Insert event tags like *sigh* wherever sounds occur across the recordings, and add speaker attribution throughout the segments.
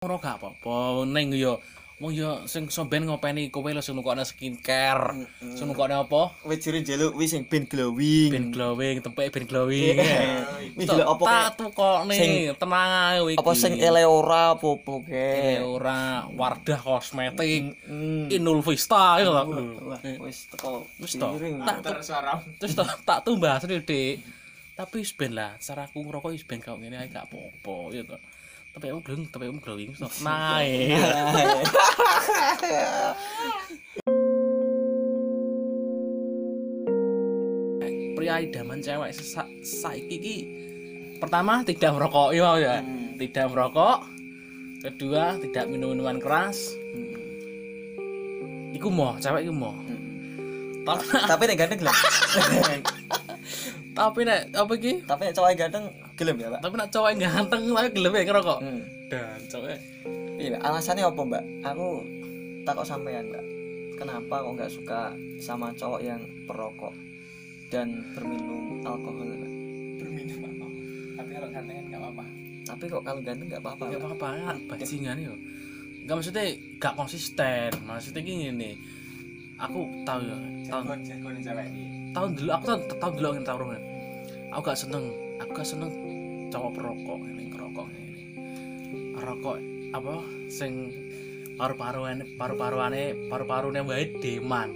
Speaker 1: ngono gak apa-apa. Ning yo wong yo sing iso ben ngopeni kowe lho sing nukokne skincare, sing nukokne apa?
Speaker 2: Wis jare njaluk wis sing ben glowing. Eh,
Speaker 1: Ben glowing, tempe ben iya. glowing.
Speaker 2: Wis njaluk apa kayak-
Speaker 1: tatu kok nih, tenang ae kowe iki.
Speaker 2: apa sing ele ora apa-apa
Speaker 1: Eh,
Speaker 2: kayak.
Speaker 1: ora Wardah Kosmetik,
Speaker 2: Hmm.
Speaker 1: Inul Vista gitu.
Speaker 2: Wah, wis teko.
Speaker 1: Wis to.
Speaker 2: piring.
Speaker 1: Tak terus tak tak tumbas Dik. Tapi wis ben lah, cara aku ngerokok wis ben kok ngene ae gak apa-apa ya to. Tapi om glowing, tapi om glowing stop. Naik. Pria idaman cewek sesak saiki iki pertama tidak merokok ya Om, ya. Tidak merokok. Kedua, tidak minum minuman keras. Iku mau, cewek iku mau. Tapi
Speaker 2: Tapi nek ganteng
Speaker 1: *laughs*
Speaker 2: gelem.
Speaker 1: tapi nek apa iki?
Speaker 2: Tapi nek cowok ganteng gelem ya, Pak.
Speaker 1: tapi nak cowok yang ganteng tapi gelem ya ngerokok
Speaker 2: Hmm.
Speaker 1: dan cowoknya
Speaker 2: Iya, alasannya apa, Mbak? Aku takut sampean, Mbak. Kenapa kok nggak suka sama cowok yang perokok dan berminum alkohol, Mbak?
Speaker 3: berminum apa tapi kalau gantengan nggak apa-apa
Speaker 2: Tapi kok kalau ganteng nggak apa-apa.
Speaker 1: nggak
Speaker 2: Mbak.
Speaker 1: apa-apa ya, bajingan yo nggak maksudnya nggak konsisten maksudnya gini nih aku tahu ya tahun
Speaker 3: jargon jargon cewek ini
Speaker 1: tahun dulu aku tahun tahun dulu yang tahu kan aku gak seneng aku gak seneng cowok perokok ini ngerokok ini rokok apa sing paru-paruan paru-paruannya paru-parunya baik deman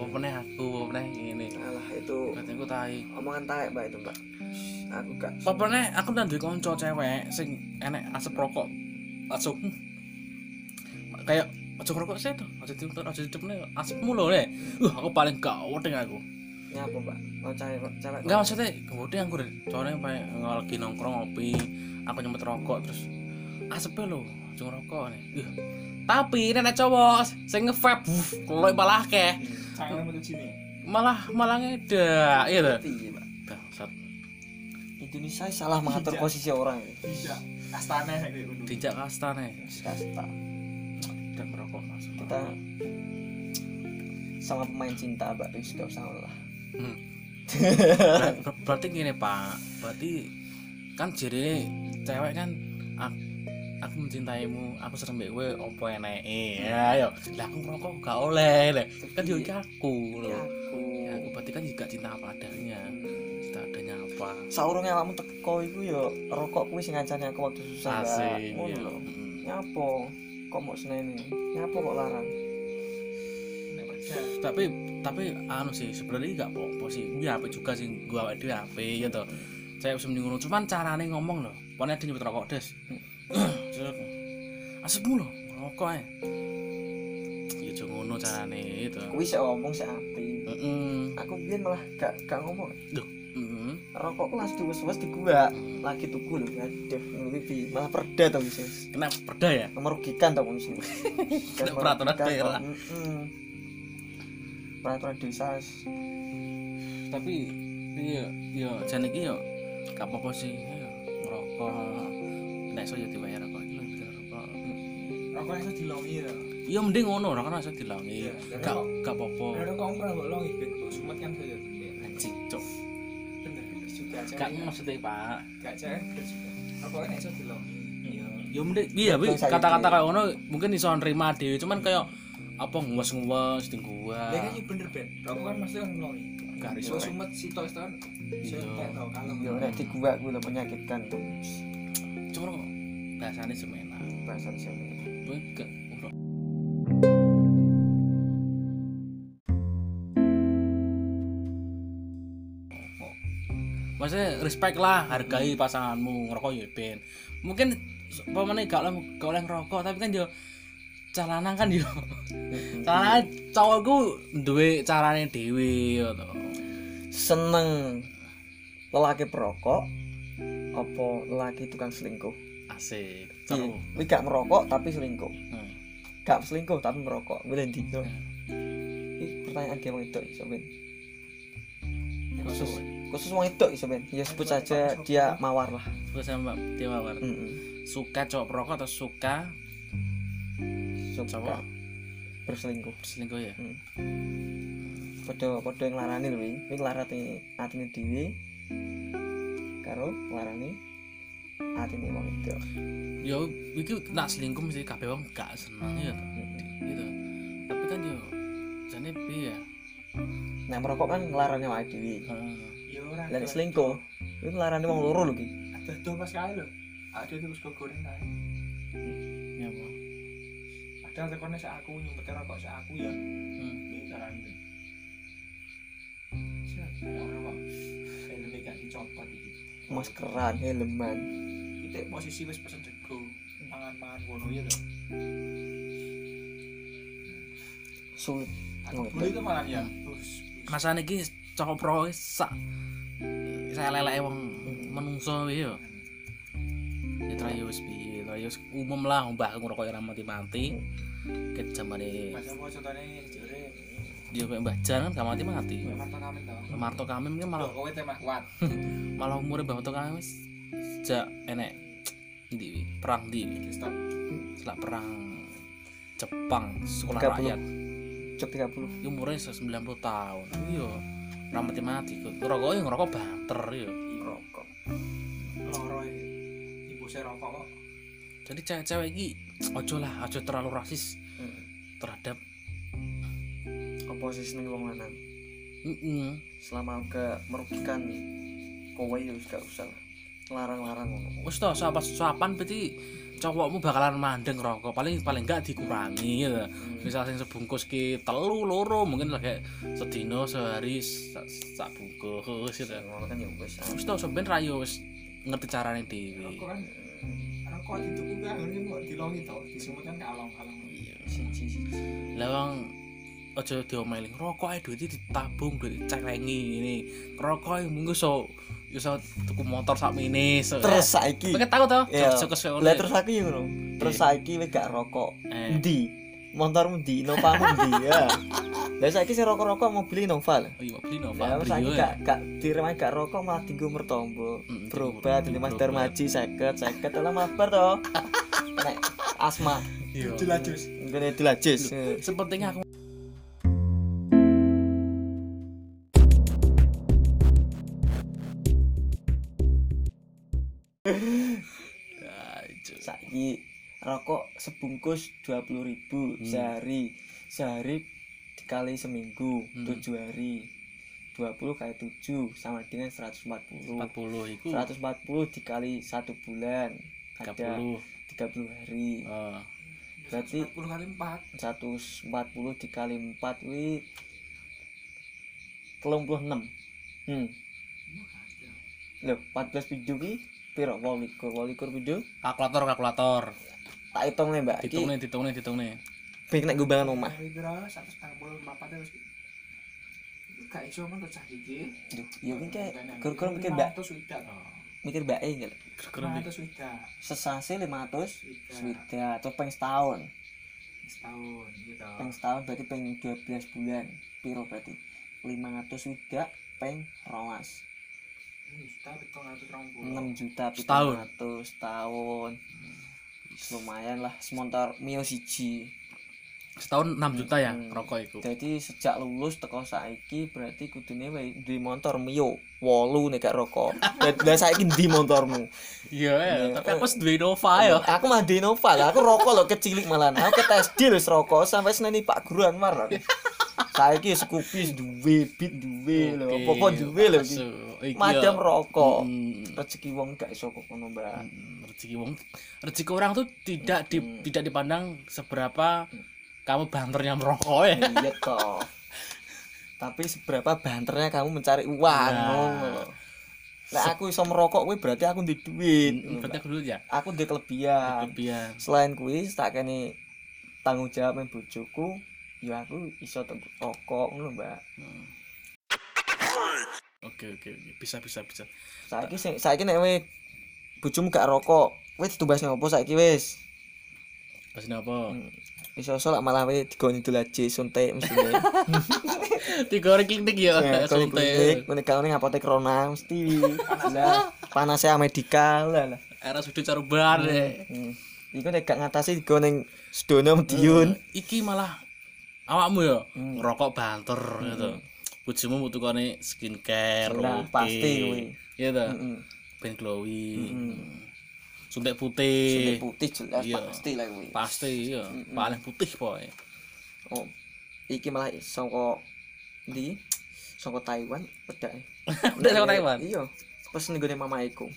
Speaker 1: wapene aku wapene ini
Speaker 2: Alah, itu
Speaker 1: katanya aku tai
Speaker 2: omongan taek, Mbak itu, Mbak. Aku gak
Speaker 1: Pokoknya aku nanti konco cewek sing enek asap rokok langsung hmm. kayak aja rokok sih tuh aja tiup aja tiup nih asap mulu nih uh aku paling gak weteng aku
Speaker 2: nyapa, Mbak. Mau cewek, cewek.
Speaker 1: nggak maksudnya kemudian aku udah sore kayak lagi nongkrong ngopi aku nyempet rokok terus asapnya lo cuma rokok nih Ih, tapi nenek cowok sing ngevape kalau malah ke
Speaker 3: jangan menuju sini
Speaker 1: malah malah ngedak iya tuh
Speaker 2: Iya, Mbak.
Speaker 1: bangsat
Speaker 2: Indonesia salah mengatur
Speaker 1: Iya.
Speaker 3: Tidak.
Speaker 2: posisi orang ya. ini.
Speaker 3: bisa kastane saya kayak gitu
Speaker 1: dijak kasta nih
Speaker 2: Kasta.
Speaker 1: dan merokok masuk
Speaker 2: Kita sama pemain cinta, Mbak. Wis gak usah lah.
Speaker 1: Hmm. Ber- ber- berarti gini pak berarti kan jere cewek kan aku, aku mencintaimu aku serem mbek kowe opo eneke ya yo lah aku ngerokok gak oleh leh. kan yo iki aku lho ya, aku berarti kan juga cinta apa adanya cinta adanya apa
Speaker 2: saurunge awakmu teko iku ya rokok kuwi sing ngancani aku waktu susah. Mbak.
Speaker 1: asik
Speaker 2: Ngono
Speaker 1: ya
Speaker 2: lho.
Speaker 1: Mm.
Speaker 2: Nyapo? Kok mau seneni? Nyapo kok larang?
Speaker 3: Nek kerja,
Speaker 1: tapi tapi anu sih sebenarnya gak apa-apa sih ini apa juga sih gua awake dhewe apa ya toh saya bisa menyinggung cuman carane ngomong loh pokoknya ada nyebut rokok des *clears throat* Set. asapmu loh rokok ya ya cuma ngono carane itu
Speaker 2: Kuwi sik ngomong sik api.
Speaker 1: Mm-mm.
Speaker 2: Aku biyen malah gak gak ngomong.
Speaker 1: Duh, mm-mm.
Speaker 2: Rokok kelas diwes-wes di gua. Lagi tuku lho. Aduh, ngono kuwi pi. malah perda to wis.
Speaker 1: kena perda ya
Speaker 2: Merugikan to wis.
Speaker 1: Kena peraturan daerah.
Speaker 2: Heeh. Peraturan desa. wis.
Speaker 1: tapi iya iya jan iki yo gak apa-apa sih Iya, ngerokok nek iso ya dibayar rokok iki lho, dibayar rokok
Speaker 3: rokoknya saya dilongi ya
Speaker 1: Iya mending ngono ora karena iso dilangi.
Speaker 3: Iya, karena
Speaker 1: Gak
Speaker 3: kok-
Speaker 1: gak apa-apa.
Speaker 3: ada rokok pernah gak longi ben bau sumet kan saya bener
Speaker 1: Anjing, cok.
Speaker 3: bener juga
Speaker 1: Gak
Speaker 3: cewek
Speaker 1: maksudnya Pak.
Speaker 3: gak cewek bener juga rokoknya nek saya dilongi iya
Speaker 1: Ya mending iya wi
Speaker 2: Betul, saya
Speaker 1: kata-kata
Speaker 2: gitu.
Speaker 1: kayak ngono mungkin iso nerima dhewe cuman kayak apa nguwas-nguwas di gua.
Speaker 3: ya kan iya bener ben rokok kan pasti kan longi
Speaker 1: Ah. Gak iso.
Speaker 3: bau sumet si tois tahun saya
Speaker 1: Iya.
Speaker 3: tak tahu kalau
Speaker 2: Yo nek di gua kuwi lho menyakitkan tuh.
Speaker 1: Cuma bahasane semena.
Speaker 2: Bahasa sini.
Speaker 1: Gue gak ngobrol. Maksudnya respect lah, hargai pasanganmu, ngerokok ya ben. Mungkin pemane gak oleh gak oleh ngerokok, tapi kan yo celana kan *laughs* yo. celana cowokku duwe carane dhewe yo to.
Speaker 2: seneng lelaki perokok apa lelaki tukang selingkuh
Speaker 1: Asik.
Speaker 2: Iya,
Speaker 1: Seru.
Speaker 2: kuwi gak merokok tapi selingkuh
Speaker 1: Hmm.
Speaker 2: gak selingkuh tapi merokok kuwi ndi
Speaker 1: Iya.
Speaker 2: yo Ih, pertanyaan game itu iso ben khusus khusus wong itu iso ben ya sebut saja dia mawar lah
Speaker 1: Terus sama Mbak Dewa War.
Speaker 2: Mm-mm.
Speaker 1: Suka cowok perokok atau suka
Speaker 2: suka
Speaker 1: Cowok.
Speaker 2: berselingkuh
Speaker 1: selingkuh ya?
Speaker 2: podo podo yang larani lho ini nglarati atine dhewe karo larani ini wong itu
Speaker 1: ya iki nak selingkuh mesti kabeh wong gak seneng ya toh. gitu tapi kan yo jane piye ya
Speaker 2: nah merokok kan ngelarangnya wae dhewe
Speaker 1: Heeh.
Speaker 3: Ya ora.
Speaker 2: lan selingkuh itu ngelarangnya wong loro lho ki
Speaker 3: Ada dua pas kali lho. Ada itu terus kegoren kae.
Speaker 1: ya apa
Speaker 3: Ada tekone sak aku nyumpet rokok sak aku ya.
Speaker 1: Hmm.
Speaker 3: Ini cara ini. Siap, ya ora kok. Helmnya gak dicopot iki.
Speaker 2: maskeran helman
Speaker 3: Kita posisi wis pesen jago. Mangan-mangan ngono ya lho.
Speaker 2: sulit
Speaker 3: Aku
Speaker 2: Ngerti.
Speaker 3: beli itu malah ya. Terus
Speaker 1: masane iki cowok pro sak saya lelek wong menungso iki yo ya trayo wis piye trayo wis umum lah mbah ngrokok ya mati mati ke jamane
Speaker 3: Mas apa contohnya jare
Speaker 1: dia kayak mbah Jan kan gak mati mati
Speaker 3: Marta Kamen tau.
Speaker 1: Marto Kamim kan
Speaker 3: Lho
Speaker 1: malah
Speaker 3: kowe tema kuat.
Speaker 1: malah umure mbah Marto Kamim wis sejak enek ndi wi? perang ndi wi?
Speaker 3: Iki stop.
Speaker 1: setelah perang Jepang sekolah
Speaker 2: 30.
Speaker 1: rakyat
Speaker 2: cok 30
Speaker 1: Iki umurnya 90 tahun iya ora mati mati kok ngerokok ya ngerokok banter ya
Speaker 2: rokok
Speaker 3: Loro e. Ibu saya rokok kok.
Speaker 1: jadi cewek-cewek ini ojo lah ojo terlalu rasis terhadap
Speaker 2: oposisi nih wong lanang
Speaker 1: Mm-mm.
Speaker 2: selama gak merugikan kowe ya wis gak usah lah. larang-larang ngono
Speaker 1: wis toh sahabat suapan berarti cowokmu bakalan mandeng rokok paling paling enggak dikurangi ya misal sing sebungkus ki telu loro mungkin lah kayak sedino sehari sak sak bungkus gitu
Speaker 2: ngono kan ya wis
Speaker 1: wis toh sampean ra yo wis ngerti carane dhewe
Speaker 3: Rokok kan eh, rokok dituku kan ngene kok dilongi to. Disemut kan kalong-kalong.
Speaker 1: iya
Speaker 2: siji siji
Speaker 1: lah wong aja diomelin rokok ae duit ditabung duit celengi ini rokok ae munggu so yo so tuku motor sak mini so
Speaker 2: terus saiki
Speaker 1: Pakai tahu toh?
Speaker 2: Iya.
Speaker 1: Sok- sok- sok-
Speaker 2: Lah terus aku yo ngono. Terus saiki wis gak rokok.
Speaker 1: Eh.
Speaker 2: Endi? Motormu ndi? Novamu ndi? Ya. Lah saiki sing rokok-rokok mau beli Nova lho.
Speaker 1: Oh iya, beli no,
Speaker 2: Lah
Speaker 1: Pak
Speaker 2: terus saiki
Speaker 1: Brio ya.
Speaker 2: gak gak diremai gak rokok malah tinggu mertombo.
Speaker 1: Mm,
Speaker 2: Berobat
Speaker 1: tinggu-
Speaker 2: di Mas
Speaker 1: berobat.
Speaker 2: Darmaji 50 50 lah mabar to. *laughs* Nek asma
Speaker 1: Iya.
Speaker 3: Jelajus.
Speaker 2: ngene dilajis.
Speaker 1: Sepertinya
Speaker 2: *laughs*
Speaker 1: aku Ya,
Speaker 2: Saiki rokok sebungkus 20.000 sehari. Sehari dikali seminggu,
Speaker 1: Hmm.
Speaker 2: 7 hari. 20 kali 7 sama dengan 140.
Speaker 1: 40 iku
Speaker 2: 140 dikali satu bulan ada
Speaker 1: 30.
Speaker 2: 30 hari
Speaker 1: Heeh.
Speaker 2: Berarti-
Speaker 3: 40 kali 4.
Speaker 2: 140 dikali 4 kuwi 36 hmm lho 14 video ki piro 28 28 video
Speaker 1: Kalkulator kalkulator.
Speaker 2: tak hitung nih mbak iki
Speaker 1: Ditungne ditungne ditungne.
Speaker 2: ping nek gue bangun omah
Speaker 3: Hari kira 140 papat terus. Gak iso men pecah iki.
Speaker 2: Duh, ya mungkin kayak gur-gur mikir mbak
Speaker 3: 500 widak.
Speaker 2: mikir mbak e nggak
Speaker 1: Keren iki.
Speaker 3: 500 widak
Speaker 2: sesasi 500 sudah terus peng setahun
Speaker 3: setahun gitu.
Speaker 2: peng setahun berarti peng 12 bulan piro berarti 500 sudah peng rolas
Speaker 3: Ini Juta 720.
Speaker 2: 6 juta
Speaker 1: Setahun.
Speaker 2: 700 setahun lumayan lah semontor mio siji
Speaker 1: Setahun 6 juta ya rokok iku.
Speaker 2: jadi sejak lulus teko saiki berarti kudune wae duwe motor mio wolu nek gak rokok dan dan saiki ndi motormu
Speaker 1: Iya, ya, tapi aku wis duwe Innova ya.
Speaker 2: aku mah di Innova lah aku rokok lho kecilik malah aku ke TSD lho wis rokok sampai seneni Pak Guru Anwar aku. saiki Scoopy duwe beat duwe lho
Speaker 1: Oke,
Speaker 2: apa duwe lho iki.
Speaker 1: masuk. Iki ya.
Speaker 2: madam rokok
Speaker 1: Hmm.
Speaker 2: rezeki wong gak iso kok ngono mbak
Speaker 1: Hmm, rezeki wong rezeki orang tuh tidak di, tidak dipandang seberapa kamu banternya merokok ya.
Speaker 2: iya toh tapi seberapa banternya kamu mencari uang
Speaker 1: Nah.
Speaker 2: ngono nah aku iso merokok kuwi berarti aku di duit
Speaker 1: Hmm, Berarti aku dulu ya.
Speaker 2: aku di kelebihan
Speaker 1: Kelebihan.
Speaker 2: selain kuwi tak kene tanggung jawab yang bojoku ya aku iso tuku rokok ngono mbak
Speaker 1: Oke oke oke bisa bisa bisa.
Speaker 2: saiki sing saiki nek we bojomu gak rokok wis tumbas opo saiki wis
Speaker 1: Pas ini apa?
Speaker 2: iso iso lak malah we digoni dolaje suntik mesti
Speaker 1: *laughs* Tiga orang klinik ya.
Speaker 2: kalau klinik
Speaker 1: Suntik.
Speaker 2: menikah ini ngapotek corona mesti lah panasnya medikal lah lah
Speaker 1: RSUD Caruban ya.
Speaker 2: hmm. Iku nek gak ngatasi gue neng sedono mediun
Speaker 1: Iki malah awakmu ya ngerokok banter gitu. Bujumu butuh kone skincare,
Speaker 2: Lah,
Speaker 1: oke.
Speaker 2: pasti kuwi.
Speaker 1: Iya toh.
Speaker 2: Mm-mm.
Speaker 1: Ben glowing. suntik putih
Speaker 2: Hmm. Suntik putih jelas
Speaker 1: Hmm. Iya.
Speaker 2: pasti lah kuwi.
Speaker 1: pasti iya
Speaker 2: Mm-mm.
Speaker 1: paling putih boy
Speaker 2: Oh. Iki malah saka ndi? Saka Taiwan pedake.
Speaker 1: Pedak saka Taiwan?
Speaker 2: Iya. Pas nenggone
Speaker 1: *laughs*
Speaker 2: mamaiku.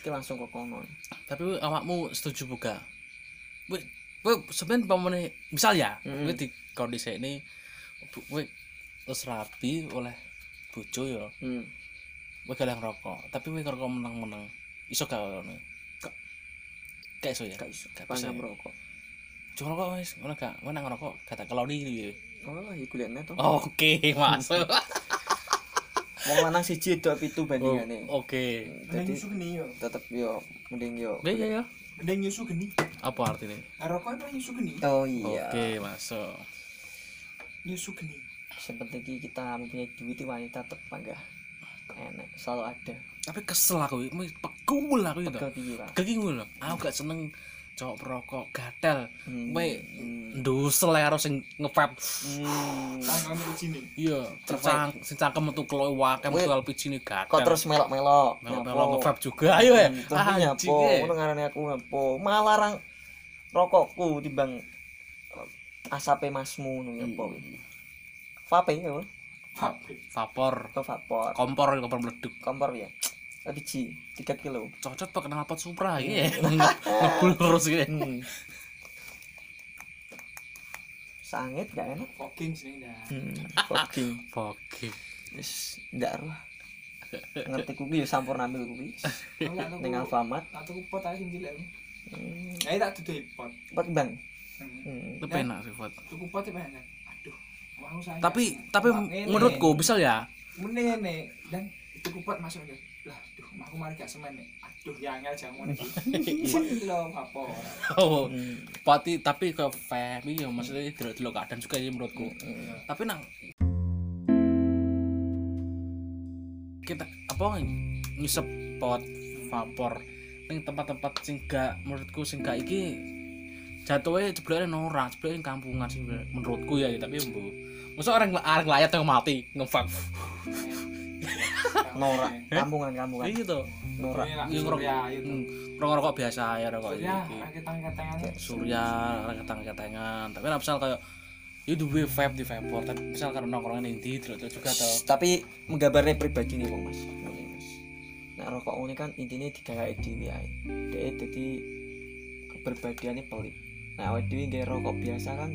Speaker 2: Ki langsung kok kono.
Speaker 1: tapi wih, awakmu setuju buka wih wih sebenarnya pamane misal ya
Speaker 2: Mm-mm.
Speaker 1: wih di kondisi ini bu- wih terus rapi oleh bojo ya
Speaker 2: Hmm.
Speaker 1: wih galang rokok tapi wih rokok menang menang iso gak ngono
Speaker 2: Gak.
Speaker 1: gak iso ya
Speaker 2: Gak iso.
Speaker 1: Gak bisa
Speaker 2: Pandang
Speaker 1: ya?
Speaker 2: rokok.
Speaker 1: cuma rokok wis ngono gak ngono nang rokok kata keloni gitu ya
Speaker 2: Oh, iku liane to.
Speaker 1: oke masuk
Speaker 2: Wong lanang siji dok pitu bandingane.
Speaker 1: oke
Speaker 3: Mending
Speaker 2: Jadi
Speaker 3: nyusu geni yo.
Speaker 2: tetep yo mending yo.
Speaker 1: ya ya ya
Speaker 3: Mending nyusu geni. Nah,
Speaker 1: apa artinya
Speaker 3: Rokok itu nyusu geni.
Speaker 2: Oh
Speaker 1: oke
Speaker 2: iya.
Speaker 1: masuk
Speaker 3: Nyusu geni.
Speaker 2: Yang penting ki kita mempunyai duit di wanita tetangga. Enak, selalu ada.
Speaker 1: tapi kesel aku wih. pegul aku itu
Speaker 2: Pegel piye, Pak?
Speaker 1: Kaki gue lho, aku gak seneng cowok perokok gatel.
Speaker 2: Hmm.
Speaker 1: Kowe ndusel ae karo sing ngevap.
Speaker 2: Hmm.
Speaker 3: Tangan uji nih.
Speaker 1: Iya, tercang sing cangkem metu kloe wae metu LPG ne gatel.
Speaker 2: Kok terus melok-melok.
Speaker 1: melok
Speaker 2: Nyapo?
Speaker 1: ngevap juga ayo ya. Ah, eh.
Speaker 2: Hmm, Tapi nyapo, ngono ngarane aku nyapo. Malah rang rokokku timbang eh, asape masmu ngono nyapo kuwi. Vape ya, Bro.
Speaker 3: Vape.
Speaker 1: Vapor,
Speaker 2: Atau vapor.
Speaker 1: kompor, kompor meleduk.
Speaker 2: Kompor ya. Tapi ji 3 kilo.
Speaker 1: Cocot pak kenal pot Supra iki. *laughs* Ngebul terus iki.
Speaker 2: Hmm. Sangit gak enak.
Speaker 3: Koking sih dah.
Speaker 2: *laughs* Hmm. Fogging.
Speaker 1: Oke.
Speaker 2: Wis ndak roh. Ngerti kuwi ya sampur ambil kuwi. Ning
Speaker 3: Aku
Speaker 2: Alfamart.
Speaker 3: aku Nah, pot aja sing cilik.
Speaker 2: Hmm.
Speaker 3: Ya tak duduk pot.
Speaker 2: Pak Bang.
Speaker 3: Hmm.
Speaker 2: Hmm.
Speaker 1: Itu enak sih buat.
Speaker 3: Tuku pot itu banyak. Aduh. Mau saya.
Speaker 1: Tapi tapi
Speaker 3: Ngene.
Speaker 1: menurutku bisa ya.
Speaker 3: Mending nih dan tuku pot masuk nih. Lah, aduh, aku mari gak semen nih. Aduh, ya angel jamu nih. Pot itu loh, apa?
Speaker 1: Oh, pati tapi ke Femi ya maksudnya delok-delok keadaan juga sih menurutku. Tapi nang kita apa ngisep pot vapor ning tempat-tempat sing gak menurutku sing gak iki jatuhnya jebloknya norak jebloknya ning kampungan sih menurutku ya tapi mbu masa orang orang layak yang mati ngevap
Speaker 2: Norak, kampungan-kampungan.
Speaker 1: kayak gitu
Speaker 2: Norak.
Speaker 3: Ini lah,
Speaker 1: Iya, ngerokok.
Speaker 3: Surya itu.
Speaker 1: rokok rokok biasa ya rokok
Speaker 3: Surya,
Speaker 1: iki.
Speaker 3: angkat-angkat
Speaker 1: surya orang ketang-ketangan tapi lah misal kayak ya duwe vape di vapor tapi misal kalau nongkrongan yang di terus juga tau
Speaker 2: tapi menggambarnya pribadi nih Wong, mas Ngene, Mas. nah rokok ini kan intinya digawe dhewe ae dia jadi keberbadiannya pelit nah awake dhewe nggawe rokok biasa kan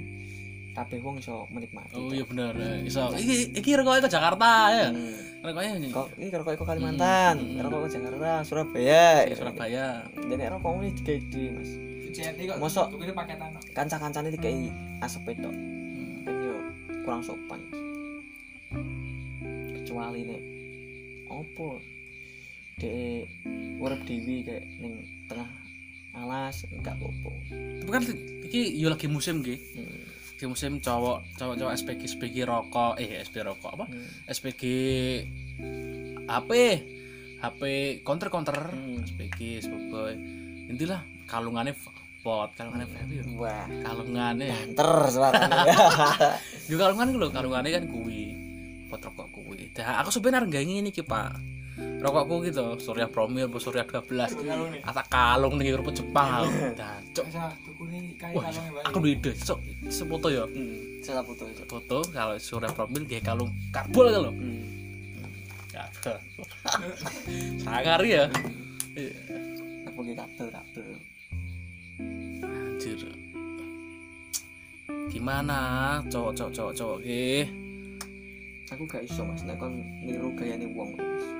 Speaker 2: kabeh wong iso menikmati
Speaker 1: oh iya bener ya. iso iki iki rokoknya ke Jakarta ya
Speaker 2: Hmm.
Speaker 1: rokoknya ini
Speaker 2: kok ini rokok iku Kalimantan rokok Jakarta Surabaya
Speaker 1: Surabaya
Speaker 2: dan nek rokok ini digawe dhewe mas
Speaker 3: Cucian ini kok.
Speaker 2: Mosok.
Speaker 3: Tuku ini paketan. no.
Speaker 2: kanca-kancane digawe asep tok kan yo kurang sopan kecuali nek opo de urip dewi kayak ning tengah alas enggak opo
Speaker 1: tapi kan iki yo lagi musim gih
Speaker 2: hmm.
Speaker 1: lagi musim cowok cowok cowok SPG SPG rokok eh SPG rokok apa
Speaker 2: Hmm.
Speaker 1: SPG HP HP counter counter
Speaker 2: Hmm.
Speaker 1: SPG sebagai intilah kalungannya pot kalungannya vape ya.
Speaker 2: wah
Speaker 1: kalungannya
Speaker 2: banter suaranya
Speaker 1: Yo kalungan iku lho, kalungane kan kuwi. Pot rokok kuwi. Dah aku sebenarnya nggak ingin iki, Pak. Rokokku gitu, Surya Promil, apa Surya 12.
Speaker 3: Kalung nih.
Speaker 1: Ata kalung ning rupa Jepang.
Speaker 3: *laughs*
Speaker 1: aku. Dah, cok.
Speaker 3: Bisa tuku ini kayak
Speaker 1: Wah,
Speaker 3: kalung ya, Pak.
Speaker 1: aku duwe ide, cok. Sepoto ya.
Speaker 2: *laughs* hmm. salah putus itu
Speaker 1: Foto kalau Surya Promil dia kalung karbol kan lho.
Speaker 2: hmm.
Speaker 1: Kabel. *laughs* Sangar ya. Iya.
Speaker 2: aku kayak kabel kabel
Speaker 1: Anjir. Gimana cowok-cowok cowok-cowok eh
Speaker 2: aku gak iso mas nek kon niru gayane wong mas.